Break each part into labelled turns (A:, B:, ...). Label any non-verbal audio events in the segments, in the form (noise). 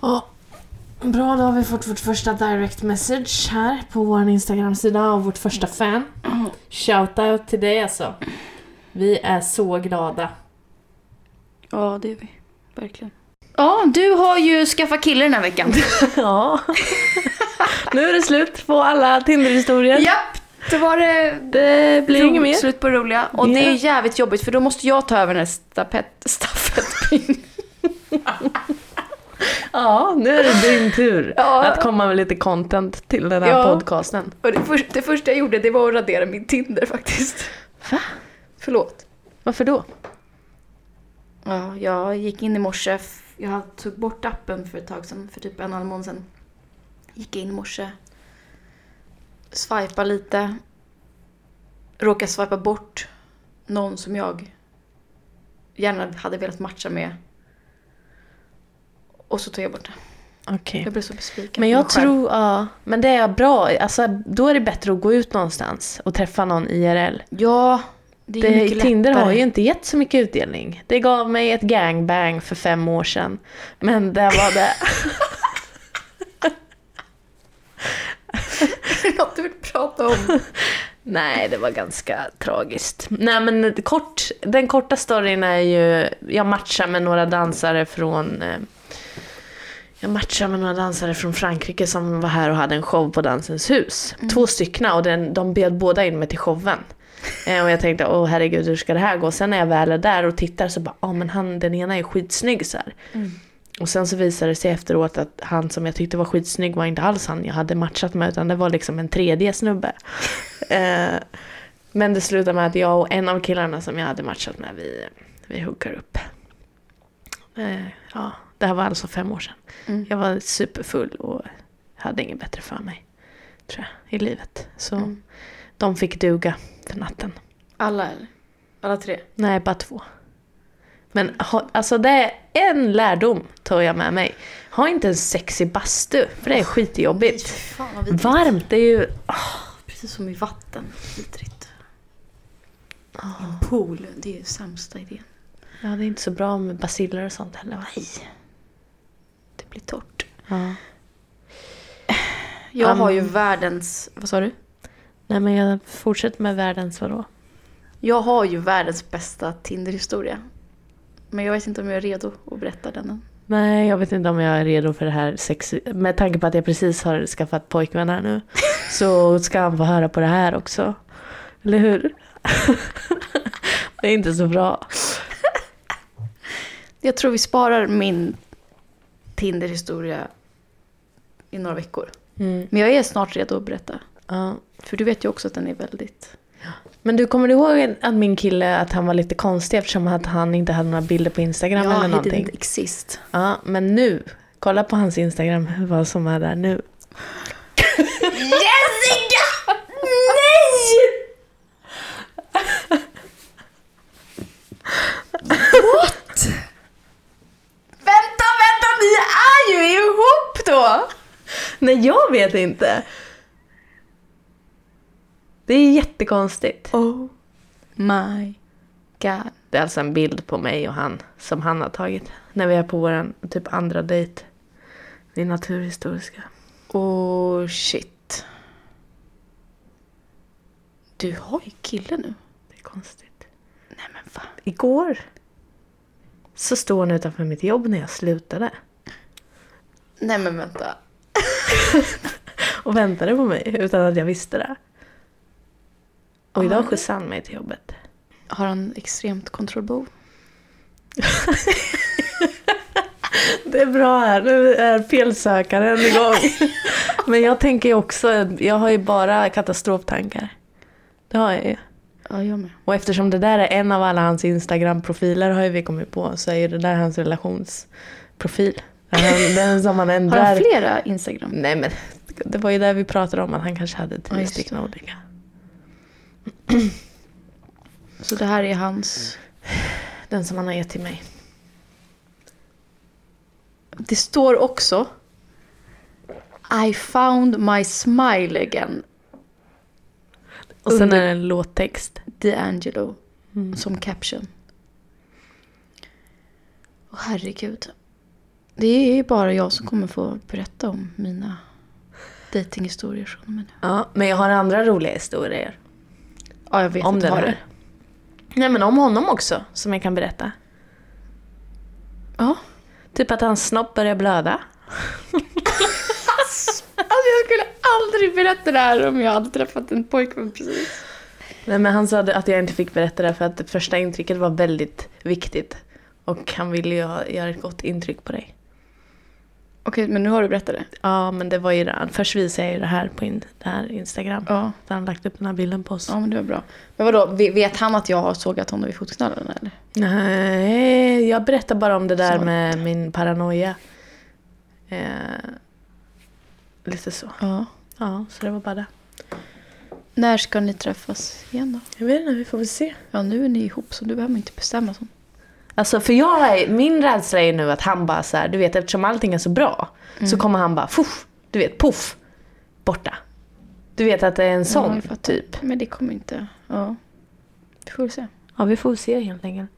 A: Ja. Bra, då har vi fått vårt första direct message här på vår Instagram-sida av vårt första
B: Mm.
A: fan. Shoutout till dig alltså. Vi är så glada.
C: Ja, det är vi. Verkligen. Ja, du har ju skaffat kille den här (laughs) veckan.
B: (laughs) Ja. nu är det slut på alla Tinder-historier.
C: Japp! Då var det
B: Det blir inget mer.
C: slut på det roliga. Och det är jävligt jobbigt för då måste jag ta över den här stafett, stafettpinnen.
B: Ja, nu är det din tur
C: (laughs) Ja.
B: att komma med lite content till den här
C: Ja.
B: podcasten.
C: Och det, för, det första jag gjorde det var att radera min Tinder faktiskt.
B: Va?
C: Förlåt.
B: Varför då?
C: Ja, jag gick in i morse. f- Jag tog bort appen för ett tag sedan, för typ en och en halv månad sedan. Gick in i morse. Swipa lite. Råkade swipa bort någon som jag gärna hade velat matcha med. Och så tog jag bort det.
B: Okej.
C: Jag blev så besviken.
B: Men
C: på
B: jag
C: mig själv.
B: tror, ja. Men det är bra. Alltså, då är det bättre att gå ut någonstans och träffa någon IRL.
C: Ja, det är
B: Det,
C: mycket
B: Tinder
C: lättare.
B: har ju inte gett så mycket utdelning. Det gav mig ett gangbang för fem år sedan. Men det var det.
C: (laughs) något du vill
B: (laughs)
C: prata om.
B: Nej, det var ganska tragiskt. Nej, men kort, den korta storyn är ju, jag matchar med några dansare från eh, jag matchade med några dansare från Frankrike som var här och hade en show på Dansens hus. Två styckna och den, de bjöd båda in mig till showen. Eh, och jag tänkte, åh herregud hur ska det här gå? Sen när jag väl är där och tittar så bara, ja men han, den ena är skitsnygg så här.
C: Mm.
B: Och sen så visade det sig efteråt att han som jag tyckte var skitsnygg var inte alls han jag hade matchat med utan det var liksom en tredje snubbe. Eh, men det slutade med att jag och en av killarna som jag hade matchat med, vi, vi huggar upp. Eh, ja, det här var alltså fem år sedan.
C: Mm.
B: Jag var superfull och hade inget bättre för mig, tror jag, i livet. Så
C: Mm.
B: de fick duga för natten.
C: Alla eller? Alla tre?
B: Nej, bara två. Men ha, alltså det är en lärdom tar jag med mig. Ha inte en sexig bastu, för det är skitjobbigt.
C: Fan vad vidrigt.
B: Varmt, det är ju...
C: Precis som i vatten. Vidrigt. I En pool, det är ju sämsta idén.
B: Ja, det är inte så bra med basiller och sånt heller. va?
C: Nej. Det blir torrt.
B: Ja.
C: Jag
B: Um.
C: har ju världens... Vad sa du?
B: Nej, men jag fortsätter med världens vadå?
C: Jag har ju världens bästa Tinder-historia. Men jag vet inte om jag är redo att berätta den än.
B: Nej, jag vet inte om jag är redo för det här sex... Med tanke på att jag precis har skaffat pojkvän här
C: (laughs)
B: nu så ska han få höra på det här också. Eller hur? (laughs) det är inte så bra.
C: Jag tror vi sparar min Tinder-historia i några veckor.
B: Mm.
C: Men jag är snart redo att berätta.
B: Ja.
C: För du vet ju också att den är väldigt...
B: Men du, kommer du ihåg att min kille att han var lite konstig eftersom att han inte hade några bilder på Instagram eller
C: Ja, he
B: någonting?
C: didn't exist.
B: Ja, men nu. Kolla på hans Instagram, vad som är där nu.
C: Jessica! Nej! What? Vänta, vänta, ni är ju ihop då!
B: Nej, jag vet inte. Det är jättekonstigt.
C: Oh my god.
B: Det är alltså en bild på mig och han som han har tagit när vi är på vår typ andra dejt. Vid Naturhistoriska.
C: Oh shit. Du har ju kille nu.
B: Det är konstigt.
C: Nej men fan.
B: Igår så står han utanför mitt jobb när jag slutade
C: Nej men vänta.
B: och väntade på mig utan att jag visste det. Och idag skjutsade han mig till jobbet.
C: Har han extremt kontrollbehov?
B: Det är bra här, nu är felsökaren igång. (laughs) Men jag tänker ju också, jag har ju bara katastroftankar. Det har jag ju.
C: Ja, jag med.
B: Och eftersom det där är en av alla hans Instagram-profiler har ju vi kommit på så är ju det där hans relationsprofil.
C: (laughs)
B: Den, den som han
C: Har
B: ändrar.
C: han flera Instagram?
B: Nej men, det var ju där vi pratade om att han kanske hade
C: Ja,
B: tio
C: just det.
B: stycken olika.
C: Så det här är hans...
B: Den som han har gett till mig.
C: Det står också I found my smile again,
B: Och sen
C: Under-
B: är det en låttext.
C: D'Angelo, Mm. som caption. Åh herregud. Det är ju bara jag som kommer få berätta om mina dejtinghistorier från och med nu.
B: Ja, men jag har andra roliga historier.
C: Ja, jag vet
B: Om
C: inte
B: den
C: vad det
B: här.
C: är.
B: Nej men om honom också, som jag kan berätta.
C: Ja.
B: Typ att hans snopp börjar blöda.
C: Alltså jag skulle aldrig berätta det här om jag hade träffat en pojkvän precis.
B: Nej men han sa att jag inte fick berätta det för att det första intrycket var väldigt viktigt. Och han ville ju ha, göra ett gott intryck på dig.
C: Okej, men nu har du berättat det.
B: Ja men det var ju det. Först visade jag ju det här på in, det här Instagram.
C: Ja,
B: Att han lagt upp den här bilden på oss.
C: ja men det var bra. Men vadå, ve- vet han att jag har sågat honom i fotknölen eller?
B: Nej, jag berättar bara om det där
C: Så.
B: med min paranoia. Eh, lite så.
C: Ja.
B: Ja, så det var bara det.
C: När ska ni träffas igen då?
B: Jag vet inte, vi får väl se.
C: Ja, nu är ni ihop så du behöver inte bestämma sånt.
B: Alltså för jag, är- min rädsla är ju nu att han bara så här, du vet eftersom allting är så bra
C: Mm.
B: så kommer han bara fuff, du vet poff, borta. Du vet att det är en sån
C: jag fattar.
B: typ.
C: Men det kommer inte... Ja. Vi får väl se.
B: Ja vi får väl se helt enkelt.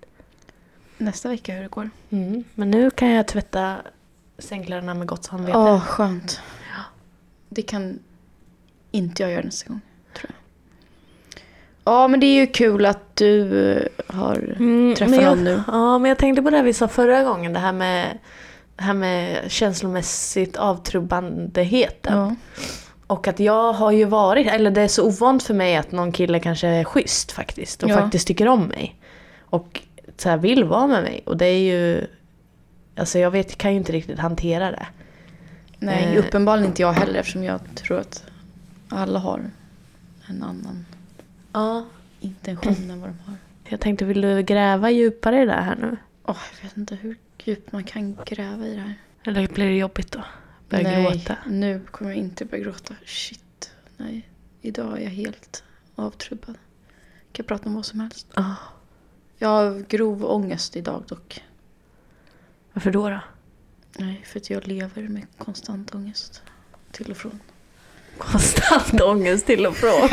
C: Nästa vecka hur det går.
B: Mm. Men nu kan jag tvätta sängkläderna med gott samvete.
C: Ja, skönt. Det kan inte jag göra nästa gång, tror jag. Ja, men det är ju kul att du eh, har...
B: Mm,
C: Träffa
B: men jag,
C: någon nu.
B: Ja, men jag tänkte på det här vi sa förra gången, det här med, det här med känslomässigt avtrubbandehet.
C: Ja.
B: Och att jag har ju varit, eller det är så ovant för mig att någon kille kanske är schysst faktiskt och
C: Ja.
B: faktiskt tycker om mig. Och så här vill vara med mig. Och det är ju, alltså jag vet, kan ju inte riktigt hantera det.
C: Nej,
B: Eh.
C: uppenbarligen inte jag heller eftersom jag tror att alla har en annan
B: Ja.
C: (clears throat) intention än vad de har.
B: Jag tänkte, vill du gräva djupare i det här nu?
C: Åh, jag vet inte hur djupt man kan gräva i det här.
B: Eller blir det jobbigt då? Börja
C: Nej,
B: gråta?
C: nu kommer jag inte börja gråta. Shit. Nej, idag är jag helt avtrubbad. Kan prata om vad som helst.
B: Ja.
C: Jag har grov ångest idag dock.
B: Varför då då?
C: Nej, för att jag lever med konstant ångest. Till och från.
B: Konstant (laughs) ångest till och från.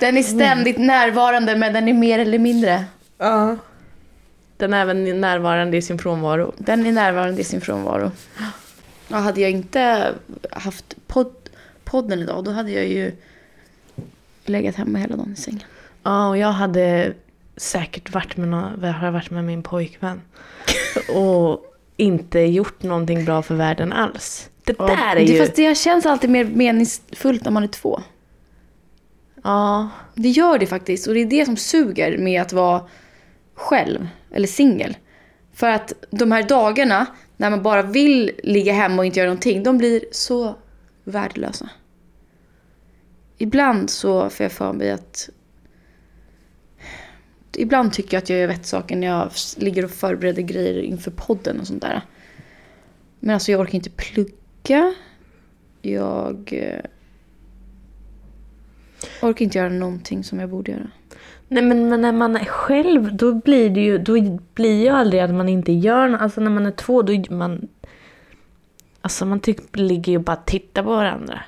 C: Den är ständigt närvarande men den är mer eller mindre.
B: Ja. Den är även närvarande i sin frånvaro.
C: Den är närvarande i sin frånvaro. Ja, hade jag inte haft podd, podden idag då hade jag ju legat hemma hela dagen i sängen.
B: Ja, och jag hade säkert varit med, någon, har jag varit med min pojkvän. (laughs) Och inte gjort någonting bra för världen alls. Det där är
C: det,
B: ju...
C: Fast det känns alltid mer meningsfullt när man är två.
B: Ja,
C: Det gör det faktiskt. Och det är det som suger med att vara själv eller singel. För att de här dagarna när man bara vill ligga hemma och inte göra någonting, de blir så värdelösa. Ibland så får jag för mig att... Ibland tycker jag att jag gör rätt saker när jag s- ligger och förbereder grejer inför podden och sånt där. Men alltså jag orkar inte plugga. Jag... eh, Orkar inte göra någonting som jag borde göra.
B: Nej men, men när man är själv då blir det ju, då blir ju aldrig att man inte gör något. Alltså när man är två då är man... Alltså man typ ligger ju bara och tittar på varandra.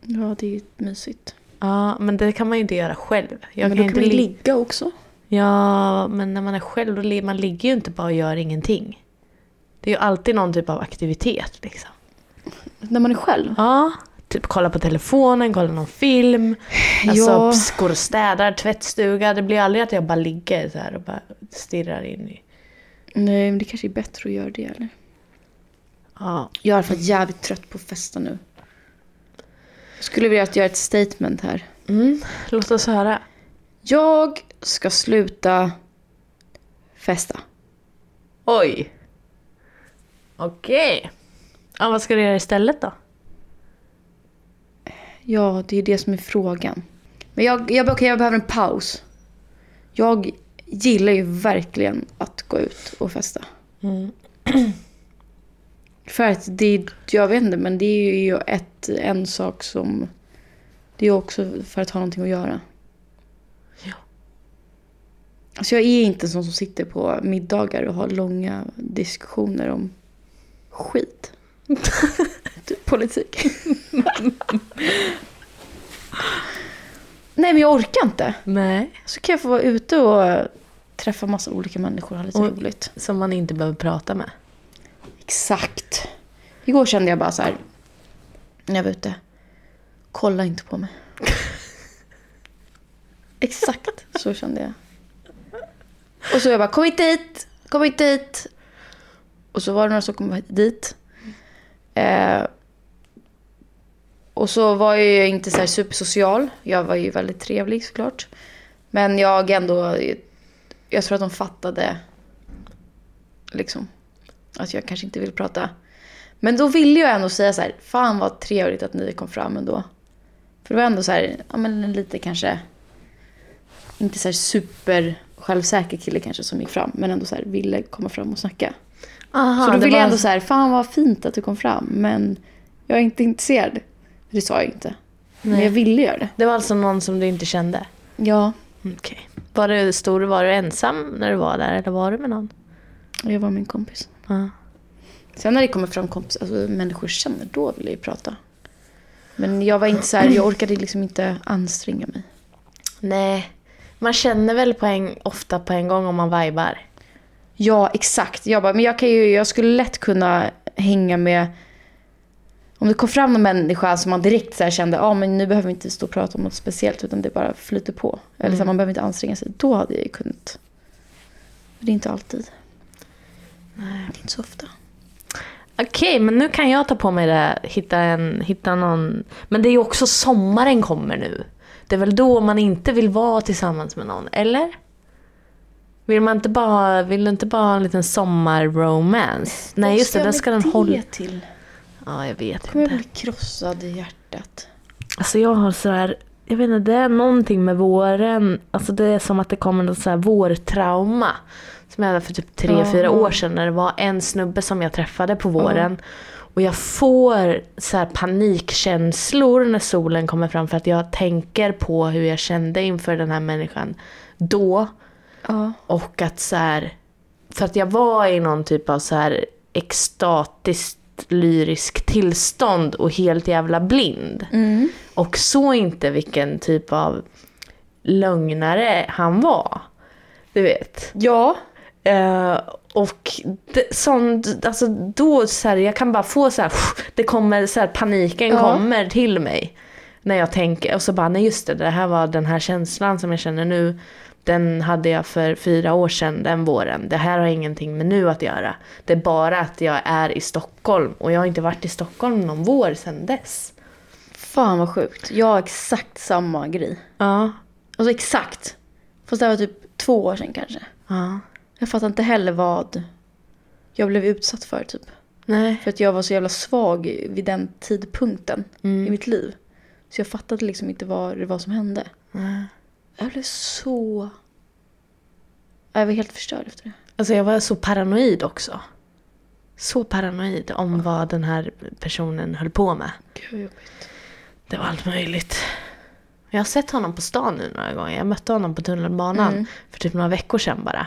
C: Ja, det är ju mysigt.
B: Ja, men det kan man ju inte göra själv. Jag
C: men då kan
B: inte
C: vi
B: li-
C: ligga också.
B: Ja, men när man är själv då li- man ligger ju inte bara och gör ingenting. Det är ju alltid någon typ av aktivitet liksom.
C: När man är själv?
B: Ja, typ kolla på telefonen, kolla någon film. Alltså
C: Ja.
B: ps- går och städar, tvättstuga. Det blir aldrig att jag bara ligger så här och bara stirrar in i...
C: Nej, men det kanske är bättre att göra det eller?
B: Ja.
C: Jag är i alla fall jävligt trött på att festa nu. Jag skulle vilja att jag gör ett statement här.
B: Mm, låt oss höra.
C: Jag ska sluta festa.
B: Oj. Okej. Ja, vad ska du göra istället då?
C: Ja, det är det som är frågan. Men jag, jag, okej, jag behöver en paus. Jag gillar ju verkligen att gå ut och festa.
B: Mm.
C: För att det, jag vet inte, men det är ju ett, en sak som... Det är också för att ha någonting att göra.
B: Ja.
C: Alltså jag är inte en sån som sitter på middagar och har långa diskussioner om
B: (laughs)
C: skit. typ politik. Nej men jag orkar inte.
B: Nej.
C: Så kan jag få vara ute och Träffa massa olika människor, ha lite
B: Och-
C: roligt.
B: Som man inte behöver prata med.
C: Exakt. Igår kände jag bara så här. När jag var ute. Kolla inte på mig. Exakt så kände jag. Och så jag bara, kom inte hit, kom inte hit. Och så var det några som kom dit. Eh, och så var jag ju inte så här supersocial. Jag var ju väldigt trevlig såklart. Men jag ändå, jag tror att de fattade liksom att jag kanske inte vill prata. Men då ville jag ändå säga så här, fan vad trevligt att ni kom fram ändå. För det var ändå så här, ja men lite kanske, inte så här super självsäker kille kanske som gick fram, men ändå så här ville komma fram och snacka.
B: Aha,
C: så då
B: det
C: ville
B: var- alltså-
C: jag ändå så här, fan vad fint att du kom fram, men jag är inte intresserad. Det sa jag inte. Men
B: Nej.
C: jag ville göra det.
B: Det var alltså någon som du inte kände?
C: Ja,
B: Mm, Okej. Var du stor, var du ensam när du var där eller var du med någon?
C: och jag var min kompis.
B: Ja.
C: Sen när det kommer fram kompis, alltså människor känner, då vill jag ju prata. Men jag var inte så här, jag orkade liksom inte anstränga mig.
B: Nej, man känner väl på en, ofta på en gång om man vibar.
C: Ja, exakt. Jag bara, men jag, kan ju, jag skulle lätt kunna hänga med... Om det kom fram någon människa som man direkt så här kände, ja men nu behöver vi inte stå och prata om något speciellt utan det bara flyter på. Eller så
B: Mm.
C: här, man behöver inte anstränga sig. Då hade jag ju kunnat. Men det är inte alltid. Nej. Det är inte så ofta.
B: Okej, men nu kan jag ta på mig det här. Hitta, en, hitta någon. Men det är ju också sommaren kommer nu. Det är väl då man inte vill vara tillsammans med någon, eller? Vill, man inte bara, vill du inte bara ha en liten sommarromance? Nej, just det, den ska den hålla...
C: till?
B: Ja, jag vet
C: Kommer jag
B: inte.
C: bli krossad i hjärtat?
B: Alltså jag har så här... Jag vet inte, det är någonting med våren. Alltså det är som att det kommer något så här vårtrauma. Som jag hade för typ tre
C: Ja.
B: fyra år sedan när det var en snubbe som jag träffade på våren. Och jag får så här panikkänslor när solen kommer fram för att jag tänker på hur jag kände inför den här människan då.
C: Ja.
B: Och att så här, för att jag var i någon typ av så här extatiskt lyrisk tillstånd och helt jävla blind.
C: Mm.
B: Och så inte vilken typ av lögnare han var. Du vet.
C: Ja.
B: Eh, och det, sånt, alltså då så här, jag kan bara få så här, det kommer så här, paniken
C: Ja.
B: kommer till mig. När jag tänker, och så bara, nej just det, det här var den här känslan som jag känner nu. Den hade jag för fyra år sedan, den våren. Det här har ingenting med nu att göra. Det är bara att jag är i Stockholm och jag har inte varit i Stockholm någon vår sedan dess.
C: Fan vad sjukt. Jag har exakt samma grej.
B: Ja.
C: Alltså exakt. Fast det här var typ två år sedan kanske.
B: ja.
C: Jag fattar inte heller vad jag blev utsatt för typ.
B: Nej.
C: För att jag var så jävla svag vid den tidpunkten
B: Mm.
C: i mitt liv. Så jag fattade liksom inte vad det var som hände. Jag blev så... Jag var helt förstörd efter det.
B: Alltså jag var så paranoid också. Så paranoid om vad den här personen höll på med.
C: Gud vad jobbigt.
B: Det var allt möjligt. Jag har sett honom på stan nu några gånger. Jag mötte honom på tunnelbanan för typ några veckor sedan bara.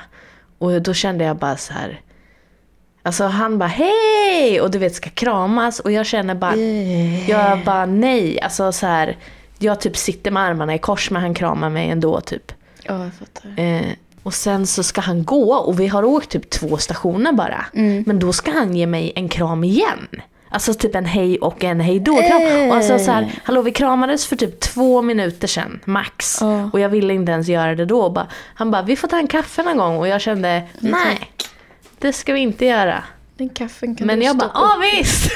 B: Och då kände jag bara så här. Alltså han bara hej! Och du vet ska kramas och jag känner bara jag bara nej. Alltså så här. Jag typ sitter med armarna i kors men han kramar mig ändå typ.
C: Ja, jag fattar.
B: Eh, och sen så ska han gå och vi har åkt typ två stationer bara.
C: Mm.
B: Men då ska han ge mig en kram igen. Alltså typ en hej och en hej då kram. Och alltså så här, hallå vi kramades för typ två minuter sedan max.
C: Ja.
B: Och jag ville inte ens göra det då. Och bara, han bara, vi får ta en kaffe någon gång. Och jag
C: Mm,
B: kände, nej. Det ska vi inte göra.
C: Den kaffen kan
B: Men
C: du
B: jag bara,
C: stoppa
B: ja
C: (laughs)
B: visst!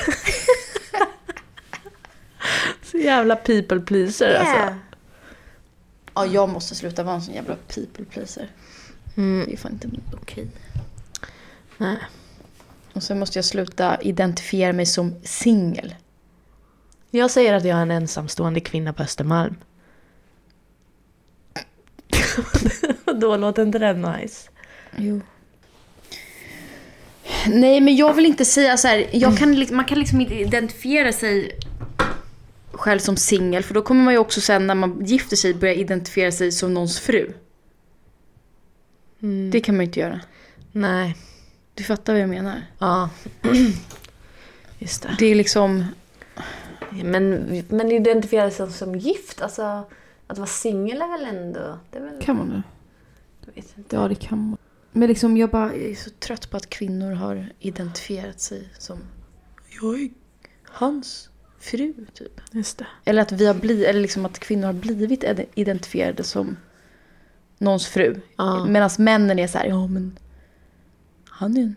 B: så jävla people pleaser alltså.
C: Ja, jag måste sluta vara en sån jävla people pleaser.
B: Mm.
C: Det är fan inte okej.
B: Nej.
C: Och sen måste jag sluta identifiera mig som singel.
B: Jag säger att jag är en ensamstående kvinna på Östermalm. (laughs) Då låter inte den nice.
C: Jo. Nej, men jag vill inte säga så här. Jag kan, liksom- man kan liksom inte identifiera sig själv som singel. För då kommer man ju också sen när man gifter sig börja identifiera sig som någons fru. Det kan man ju inte göra.
B: Mm, Nej.
C: Du fattar vad jag menar.
B: Ja. (clears throat) Just det.
C: Det är liksom...
B: Men, men identifiera sig som gift, alltså att vara singel är väl ändå... Det är väl,
C: Kan man det?
B: Jag vet inte.
C: Ja, det kan man. Men liksom jag bara jag är så trött på att kvinnor har identifierat sig som jag är hans fru, typ.
B: Just det.
C: Eller att, vi har bli, eller liksom att kvinnor har blivit ed- identifierade som någons fru.
B: Ja.
C: Medan männen är så här, ja men han är ju en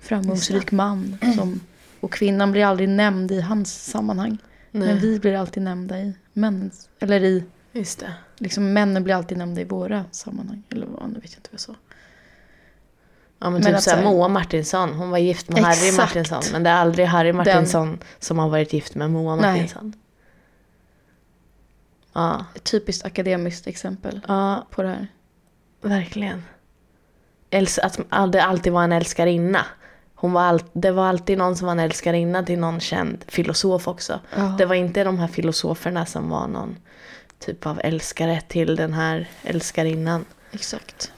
C: framgångsrik man. Som, och kvinnan blir aldrig nämnd i hans sammanhang. Men
B: Nej.
C: vi blir alltid nämnda i männens, eller i
B: Just det.
C: Liksom männen blir alltid nämnda i våra sammanhang. Eller vad, nu vet jag inte vad jag sa.
B: Ja, men,
C: Men
B: typ
C: att
B: såhär
C: så här-
B: Moa Martinsson, hon var gift med Harry
C: Exakt.
B: Martinsson. Men det är aldrig Harry Martinsson som har varit gift med Moa
C: Nej.
B: Martinsson. Ja,
C: Ett typiskt akademiskt exempel
B: ja,
C: på det här.
B: verkligen. Els- att det alltid var en älskarinna. Hon var all- det var alltid någon som var en älskarinna till någon känd filosof också.
C: Ja.
B: Det var inte de här filosoferna som var någon typ av älskare till den här älskarinnan.
C: Exakt.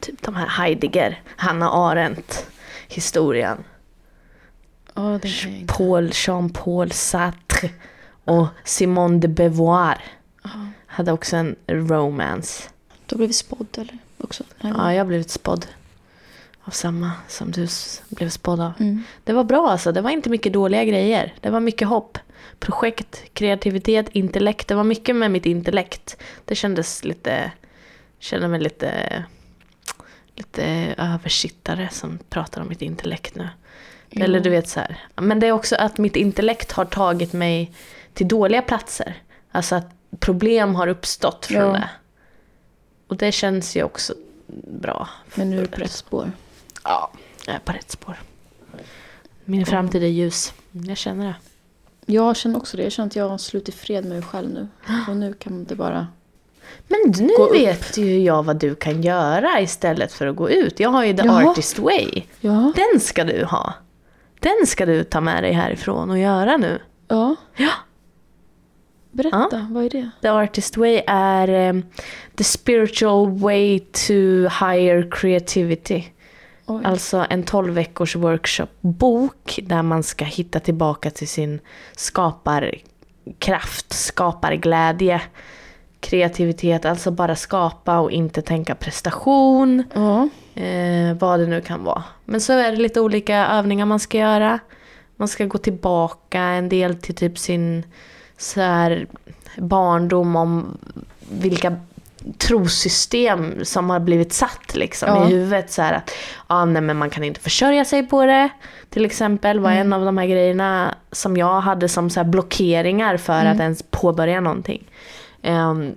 B: Typ de här Heidegger, Hanna Arendt, historien.
C: Ja, den kan jag inte.
B: Paul, Jean-Paul Sartre och Simone de Beauvoir
C: Ja.
B: hade också en romance.
C: Då blev vi spådd eller? Också. Nej.
B: Ja, jag har blivit spådd av samma som du s- blev spådd av.
C: Mm.
B: Det var bra alltså, det var inte mycket dåliga grejer. Det var mycket hopp. Projekt, kreativitet, intellekt. Det var mycket med mitt intellekt. Det kändes lite, kände mig lite, lite översittare som pratar om mitt intellekt nu.
C: Jo.
B: Eller du vet så här. Men det är också att mitt intellekt har tagit mig till dåliga platser. Alltså att problem har uppstått från
C: Ja.
B: det. Och det känns ju också bra.
C: Men nu är du på rätt spår.
B: Ja, jag är på rätt spår. Min framtid är ljus. Jag känner det.
C: Jag känner också det. Jag känner att jag har slutit fred med mig själv
B: (gasps)
C: nu. Och nu kan det bara...
B: Men nu
C: Gå upp.
B: vet ju jag vad du kan göra istället för att gå ut. Jag har ju the
C: Jaha.
B: artist way.
C: Ja.
B: Den ska du ha. Den ska du ta med dig härifrån och göra nu.
C: Ja.
B: Ja.
C: Berätta, vad är det?
B: The Artist Way är eh, the spiritual way to higher creativity.
C: Oj.
B: Alltså en 12 veckors workshopbok där man ska hitta tillbaka till sin skaparkraft, skaparglädje, kreativitet. Alltså bara skapa och inte tänka prestation,
C: Ja.
B: eh, vad det nu kan vara. Men så är det lite olika övningar man ska göra. Man ska gå tillbaka en del till typ sin så här, barndom om vilka trossystem som har blivit satt liksom,
C: Ja.
B: i huvudet. Så här att ah, nej, men man kan inte försörja sig på det. Till exempel var en av de här grejerna som jag hade som så här blockeringar för att ens påbörja någonting. Ehm,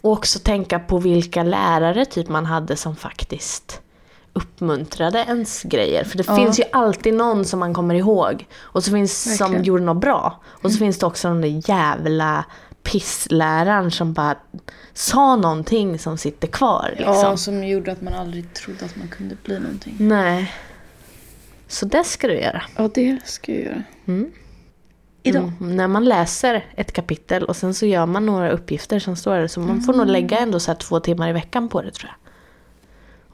B: och också tänka på vilka lärare typ man hade som faktiskt uppmuntrade ens grejer. För det
C: Ja.
B: finns ju alltid någon som man kommer ihåg. Och så finns som
C: Verkligen. Mm.
B: gjorde något bra. Och så finns det också den där jävla pissläraren som bara sa någonting som sitter kvar. Liksom.
C: ja, som gjorde att man aldrig trodde att man kunde bli någonting.
B: Nej. Så det ska du göra.
C: Ja, det ska jag göra. Idag.
B: Mm, när man läser ett kapitel och sen så gör man några uppgifter som står där. Så man får
C: Mm.
B: nog lägga ändå så här två timmar i veckan på det tror jag.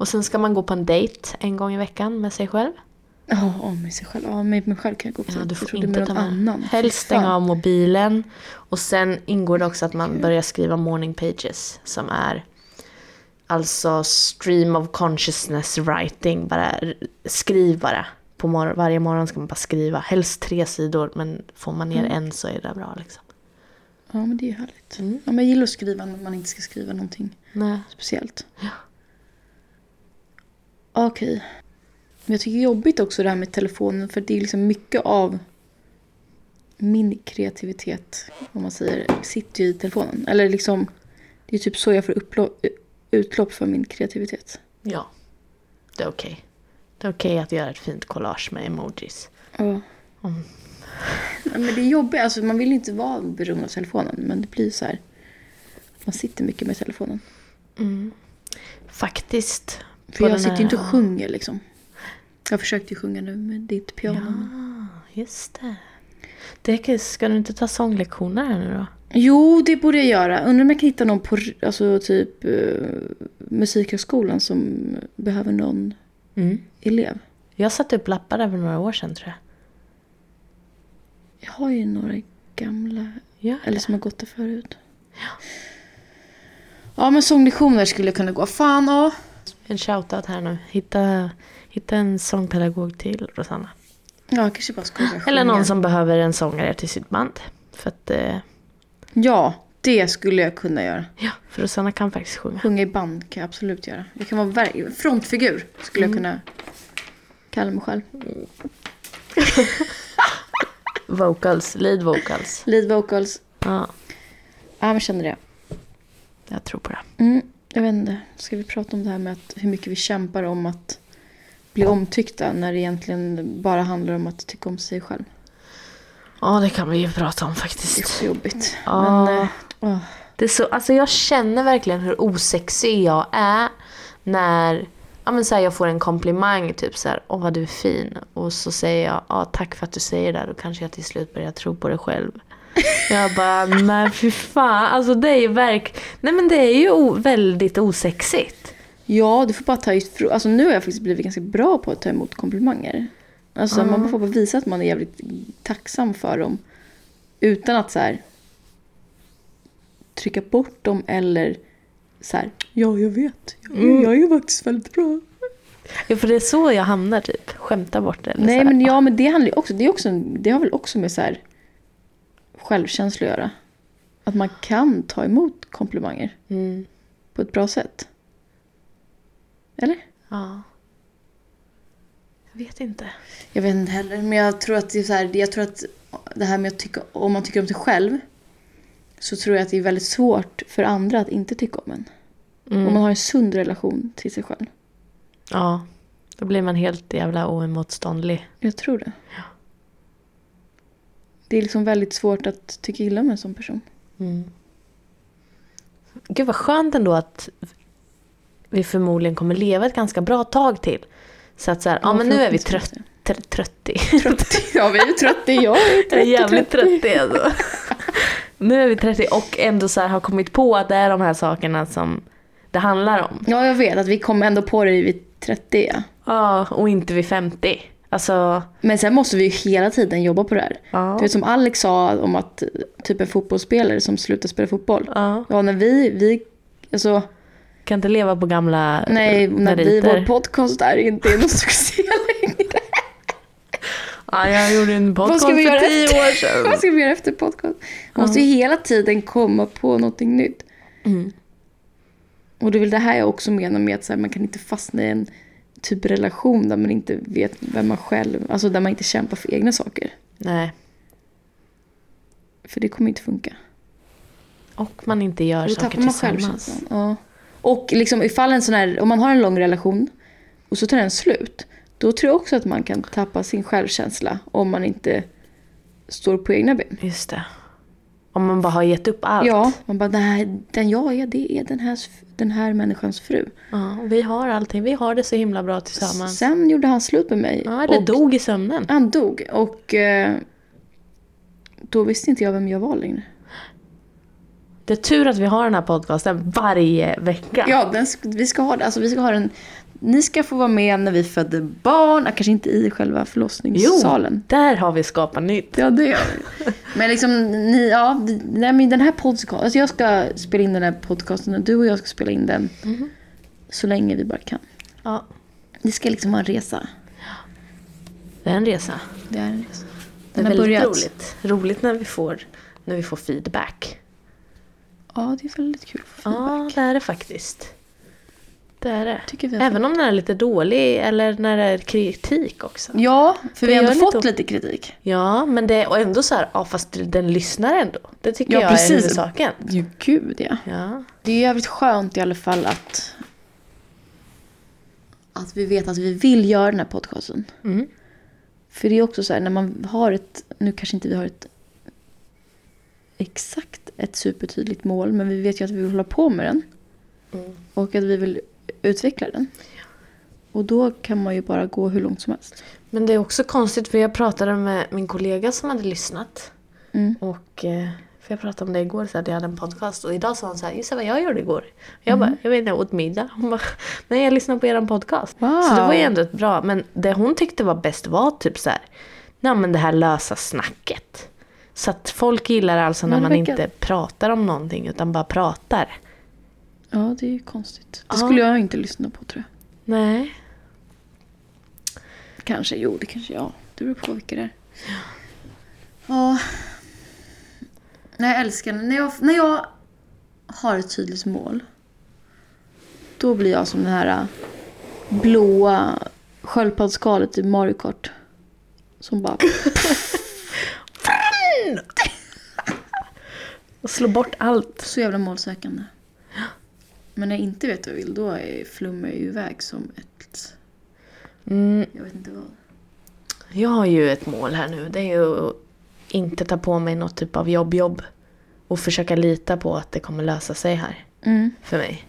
B: Och sen ska man gå på en dejt en gång i veckan med sig själv.
C: Ja, oh, med sig själv. Ja, med mig själv kan jag gå på
B: Ja,
C: dejt.
B: du
C: Jag
B: får
C: trodde
B: inte
C: med
B: ta
C: någon
B: med.
C: annan.
B: Helst
C: Fy fan.
B: stänga av mobilen. Och sen ingår det också att man börjar skriva morning pages som är alltså stream of consciousness writing. Bara r- skriv bara. På mor- varje morgon ska man bara skriva. Helst tre sidor men får man ner
C: Mm.
B: en så är det bra liksom.
C: Ja, men det är ju härligt. Ja, men jag gillar att skriva när man inte ska skriva någonting
B: Nej.
C: speciellt. Ja. Okej. Men jag tycker det är jobbigt också det här med telefonen för det är liksom mycket av min kreativitet, om man säger, sitter ju i telefonen. Eller liksom, det är typ så jag får upplo- utlopp för min kreativitet.
B: Ja. Det är okej. Det är okej att göra ett fint collage med emojis.
C: Ja. Ja, Men det är jobbigt, alltså man vill ju inte vara beroende av telefonen men det blir så här. att Man sitter mycket med telefonen.
B: Faktiskt.
C: Mm. För
B: på
C: jag
B: den
C: sitter
B: här-
C: ju inte och sjunger liksom. Jag försökte ju sjunga nu men det är inte piano.
B: Just det. det. Ska du inte ta sånglektioner här nu då?
C: Jo, det borde jag göra. Undrar om jag kan hitta någon på alltså, typ eh, Musikhögskolan som behöver någon
B: Mm.
C: elev.
B: Jag satte upp lappar där för några år sedan tror jag.
C: Jag har ju några gamla,
B: Gör
C: eller som har gått där förut. Ja, men sånglektioner skulle kunna gå. Fan, ja.
B: En shoutout här nu. Hitta, hitta en sångpedagog till Rosanna.
C: Ja, kanske bara skulle börja
B: Eller
C: sjunga.
B: någon som behöver en sångare till sitt band. För att, eh,
C: Ja, det skulle jag kunna göra.
B: ja, för Rosanna kan faktiskt sjunga.
C: Sjunga i band kan jag absolut göra. Jag kan vara ver- frontfigur, skulle jag kunna kalla mig själv.
B: Vocals, lead vocals.
C: Lead vocals.
B: Ja,
C: Ja, men jag känner det.
B: jag tror på det.
C: Mm, jag vet inte, ska vi prata om det här med att hur mycket vi kämpar om att bli omtyckta när det egentligen bara handlar om att tycka om sig själv.
B: Ja, det kan vi ju prata om
C: Det är
B: faktiskt.
C: så jobbigt.
B: Ja.
C: Men, eh, åh.
B: Det är så, alltså jag känner verkligen hur osexig jag är när ja, men så här, jag får en komplimang, typ så här, åh vad du är fin. Och så säger jag, ja tack för att du säger det, här." då kanske jag till slut börjar tro på det själv. Jag bara, nej fy fan, alltså det är ju verk... Nej men det är ju o- väldigt osexigt.
C: Ja, du får bara ta ifrån. Alltså nu har jag faktiskt blivit ganska bra på att ta emot komplimanger. Alltså man får bara visa att man är jävligt tacksam för dem. Utan att så här trycka bort dem eller så här, ja jag vet, jag, jag är ju faktiskt väldigt bra.
B: Ja, för det är så jag hamnar typ, skämta bort det. Eller så
C: Nej
B: här.
C: men Alltså, ja men det handlar ju också, det, är också, det har väl också med så här självkänsla att göra. Att man kan ta emot komplimanger
B: Mm,
C: på ett bra sätt. Eller?
B: ja. Jag vet inte.
C: Jag vet inte heller, men jag tror att det, är så här, jag tror att det här med att tycka, om man tycker om sig själv så tror jag att det är väldigt svårt för andra att inte tycka om en.
B: Mm.
C: Om man har en sund relation till sig själv.
B: Ja, då blir man helt jävla oemotståndlig.
C: Jag tror det. Det är liksom väldigt svårt att tycka illa om en sån person.
B: Mm. Gud vad skönt ändå att vi förmodligen kommer leva ett ganska bra tag till. Så att så här, ja, men nu är vi trött,
C: förhoppningsvis.
B: tr-
C: (laughs)
B: trötti.
C: Ja, vi är ju 30. Jag är ju
B: Jag är
C: 30.
B: jävligt trötti alltså. (laughs) nu är vi 30 och ändå så här har kommit på att det är de här sakerna som det handlar om.
C: Ja, jag vet att vi kom ändå på det vid 30. Ja.
B: Ja, och inte vid 50. Alltså,
C: Men sen måste vi ju hela tiden jobba på det här.
B: Ja.
C: Du vet som Alex sa om att eh, typ en fotbollsspelare som slutar spela fotboll.
B: ja.
C: Ja, när vi, vi alltså,
B: Kan inte leva på gamla
C: nej, när vi,
B: meriter.
C: vår podcast är inte någon succé längre.
B: Ja, jag gjorde en
C: Vad
B: podcast
C: ska vi göra
B: för 10
C: efter,
B: år sedan.
C: (laughs) Vad ska vi göra efter podcast? Man måste ju hela tiden komma på någonting nytt.
B: Mm.
C: Och det är väl det här jag också menar med att så här, man kan inte fastna i en typ relation där man inte vet vem man själv, alltså där man inte kämpar för egna saker.
B: Nej,
C: För det kommer inte funka.
B: och man inte gör
C: Då
B: saker
C: tappar alltså. man
B: tillsammans.
C: självkänslan. Ja. Och liksom ifall en sån här, om man har en lång relation och så tar den slut, då tror jag också att man kan tappa sin självkänsla om man inte står på egna ben.
B: Just det. Om man bara har gett upp allt.
C: Ja, man bara nej, den jag är det är den här, den här människans fru.
B: Ja, och vi har allting. Vi har det så himla bra tillsammans.
C: Sen gjorde han slut med mig.
B: Ja, eller
C: och
B: dog i sömnen.
C: Han dog och eh, då visste inte jag vem jag var längre.
B: Det är tur att vi har den här podcasten varje vecka.
C: Ja, den, sk- vi ska ha det. Alltså, vi ska ha den. Ni ska få vara med när vi födde barn, kanske inte i själva
B: jo,
C: förlossningssalen.
B: där har vi skapat nytt.
C: Ja, det gör vi. Men liksom, ni, ja, nej, men den här podcasten, alltså jag ska spela in den här podcasten och du och jag ska spela in den så länge vi bara kan.
B: Ja,
C: Det ska liksom vara en resa.
B: det är en resa.
C: Det är en resa.
B: Det
C: Den
B: är
C: har
B: väldigt
C: börjat.
B: roligt. Roligt när vi får, när vi får feedback.
C: Ja, det är väldigt kul.
B: Ja, det är det faktiskt. Det är det.
C: Tycker vi har
B: Även om den är lite dålig eller när det är kritik också.
C: Ja, för vi
B: Det
C: har ändå
B: gör
C: fått
B: lite-
C: lite kritik.
B: Ja, men det är ändå så här, ja fast den lyssnar ändå. Det tycker
C: Ja,
B: jag
C: precis.
B: är huvudsaken.
C: Jo, gud ja.
B: Ja.
C: Det är jävligt skönt i alla fall att, att vi vet att vi vill göra den här podcasten.
B: Mm.
C: För det är också så här, när man har ett, nu kanske inte vi har ett exakt ett supertydligt mål, men vi vet ju att vi vill hålla på med den. Och att vi vill utveckla den. Och då kan man ju bara gå hur långt som helst.
B: Men det är också konstigt för jag pratade med min kollega som hade lyssnat.
C: Mm.
B: Och, eh, för jag pratade om det igår, så att jag hade en podcast. Och idag sa hon så här, gissa vad jag gjorde igår? Jag bara, jag vet inte, jag åt middag. (laughs) Hon bara, nej jag lyssnade på er podcast.
C: Wow.
B: Så det var ju ändå ett bra, men det hon tyckte var bäst var typ så här, nej men det här lösa snacket. Så att folk gillar alltså när
C: Ja, det
B: man
C: verkar-
B: inte pratar om någonting utan bara pratar.
C: Ja, det är ju konstigt. Det
B: Ja.
C: skulle jag inte lyssna på tror jag.
B: Nej.
C: Kanske, jo det kanske jag. Det beror på vilka det är. Ja. Nej, jag älskar när jag, när jag har ett tydligt mål. Då blir jag som det här äh, blåa sköldpaddsskalet i Mario Kart. Som bara... (laughs)
B: (laughs) Och slå bort allt.
C: Så jävla målsökande. Men när jag inte vet vad jag vill, då är flummar jag ju iväg som ett...
B: Mm,
C: Jag vet inte vad.
B: jag har ju ett mål här nu. Det är ju att inte ta på mig något typ av jobb-jobb. Och försöka lita på att det kommer lösa sig här.
C: Mm.
B: För mig.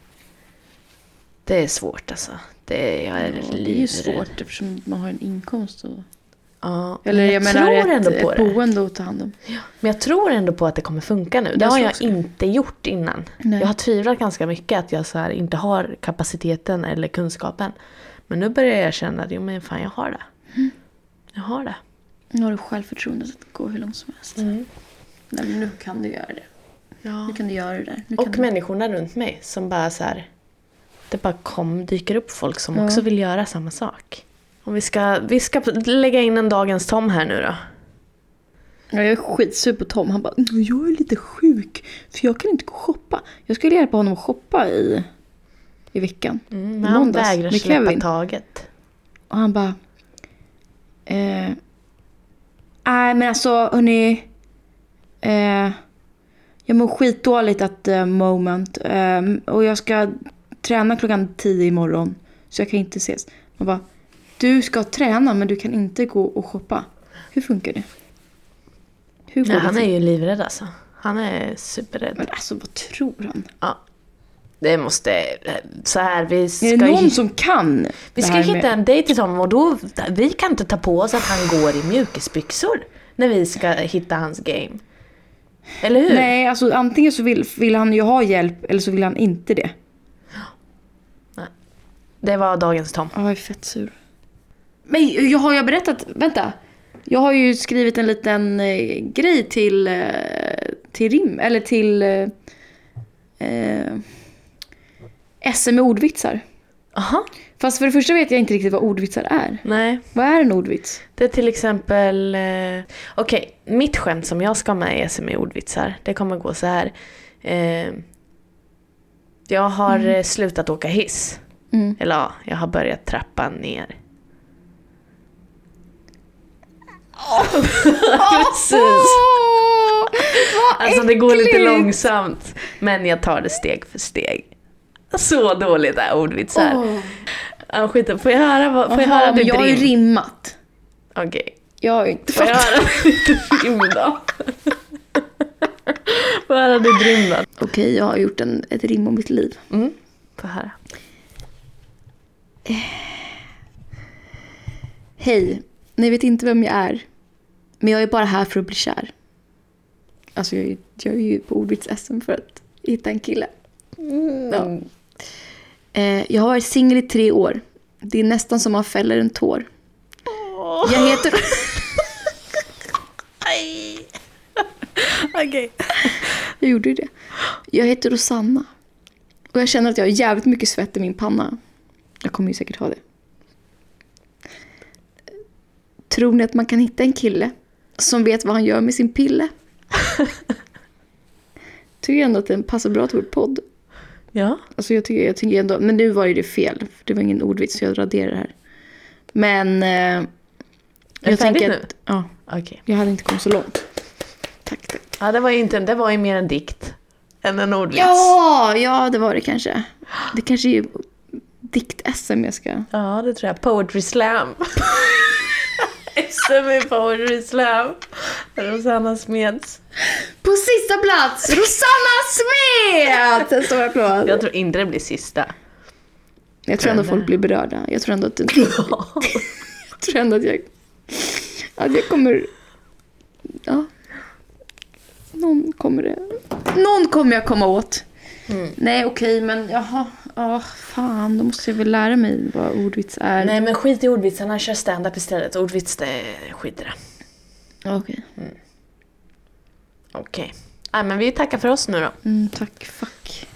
B: Det är svårt alltså. Det är, jag är
C: Ja, det är ju
B: livrädd.
C: svårt eftersom man har en inkomst. Och...
B: Ja,
C: Eller jag, menar
B: tror
C: ett,
B: ändå på
C: ett
B: det.
C: boende att ta hand om.
B: Men jag tror ändå på att det kommer funka nu. Det
C: Jag
B: har
C: tror
B: jag
C: också det.
B: inte gjort innan.
C: Nej.
B: Jag har tvivlat ganska mycket att jag så här inte har kapaciteten eller kunskapen. Men nu börjar jag känna att jo, men fan, jag har det.
C: Mm.
B: Jag har det.
C: Nu har du självförtroendet att gå hur långt som helst. Mm. Nej, men nu kan du göra det.
B: Ja.
C: Nu kan du göra det där. Nu kan
B: Och
C: du...
B: människorna runt mig som bara så här, det bara kom, dyker upp folk som
C: Ja.
B: också vill göra samma sak. Om vi, ska, vi ska lägga in en dagens Tom här nu då.
C: Ja, jag är skitsur på Tom. Han bara “Jag är lite sjuk för jag kan inte gå och shoppa”. Jag skulle hjälpa honom att shoppa i, i veckan.
B: Mm,
C: I
B: men han
C: måndags,
B: vägrar
C: med
B: släppa
C: Kevin.
B: taget.
C: Och han bara... Eh, nej men alltså hörni. Eh, jag mår skitdåligt att eh, moment. Eh, och jag ska träna klockan 10 imorgon. Så jag kan inte ses. Man bara, du ska träna men du kan inte gå och shoppa. Hur funkar det? Hur går
B: Nej,
C: det
B: han är
C: till?
B: ju livrädd alltså. Han är superrädd.
C: Men alltså vad tror han?
B: Ja. Det måste... Så här, vi ska,
C: är det någon
B: ju-
C: som kan?
B: vi
C: det
B: ska
C: här
B: hitta
C: med-
B: en dejt till honom och då... Vi kan inte ta på oss att han går i mjukisbyxor när vi ska hitta hans game. Eller hur?
C: Nej, alltså antingen så vill, vill han ju ha hjälp eller så vill han inte det.
B: Det var dagens Tom.
C: Ja, jag är fett sur. Men jag har jag berättat, vänta. Jag har ju skrivit en liten eh, grej till, eh, till rim, eller till eh, eh, SM med ordvitsar.
B: Aha.
C: Fast för det första vet jag inte riktigt vad ordvitsar är.
B: Nej.
C: Vad är en ordvits?
B: Det är till exempel... Eh, Okej, mitt skämt som jag ska ha med i SME ordvitsar, det kommer gå så här. Eh, jag har eh, slutat åka hiss.
C: (laughs) Mm.
B: Eller ja, jag har börjat trappa ner. Precis. Alltså det går lite
C: äckligt.
B: långsamt. Men jag tar det steg för steg. Så dåligt är ordvitsar.
C: Åh.
B: Ja, skit, får jag höra, vad- får jag
C: Jaha,
B: höra
C: men
B: ditt
C: jag har ju
B: rim?
C: rimmat.
B: Okej.
C: Jag har ju inte
B: Får jag
C: fattat.
B: höra (laughs) ditt rim
C: (laughs)
B: då? Får jag höra ditt rim då?
C: Okej, jag har gjort en, ett rim om mitt liv.
B: Mm. Får jag höra.
C: Hej, ni vet inte vem jag är. Men jag är bara här för att bli kär. Alltså jag är, jag är ju på ordvits-SM för att hitta en kille. Mm, Ja.
B: Mm.
C: Eh, jag har varit singel i tre år. Det är nästan som man fäller en tår. Jag heter...
B: Okej.
C: jag gjorde ju det. Jag heter Rosanna. Och jag känner att jag har jävligt mycket svett i min panna. Jag kommer ju säkert ha det. Tror ni att man kan hitta en kille som vet vad han gör med sin pille? tycker ändå att den passar bra till vår podd.
B: Ja.
C: Alltså jag tycker, jag tycker ändå, men nu var ju det fel. För det var ingen ordvits så jag raderar det här. Men... Eh,
B: det
C: jag tänker
B: färdigt
C: att... Ja,
B: Okej.
C: jag hade inte kommit så långt. Tack, tack.
B: Ja, det var ju, inte, det var ju mer en dikt än en ordvits.
C: Ja, ja det var det kanske. Det kanske är dikt-SM jag ska...
B: Ja, det tror jag. Poetry slam. (laughs) SM i poetry slam. Rosanna Smeds.
C: På sista plats, Rosanna Smet! En stor applåd.
B: Jag
C: (laughs) Jag,
B: tror inte det blir sista.
C: tror ändå folk blir berörda. Jag tror ändå att, jag tror ändå att jag... Att jag kommer... Ja. Någon kommer det... Någon kommer jag komma åt.
B: Mm.
C: Nej, okej, men jaha. Ja, fan, då måste jag väl lära mig vad ordvits är.
B: Nej, men skit i ordvitsarna. Kör stand-up istället. Ordvits, det skit i det.
C: Okej.
B: Okej. Nej, men vi tackar för oss nu då.
C: Mm, tack, fuck.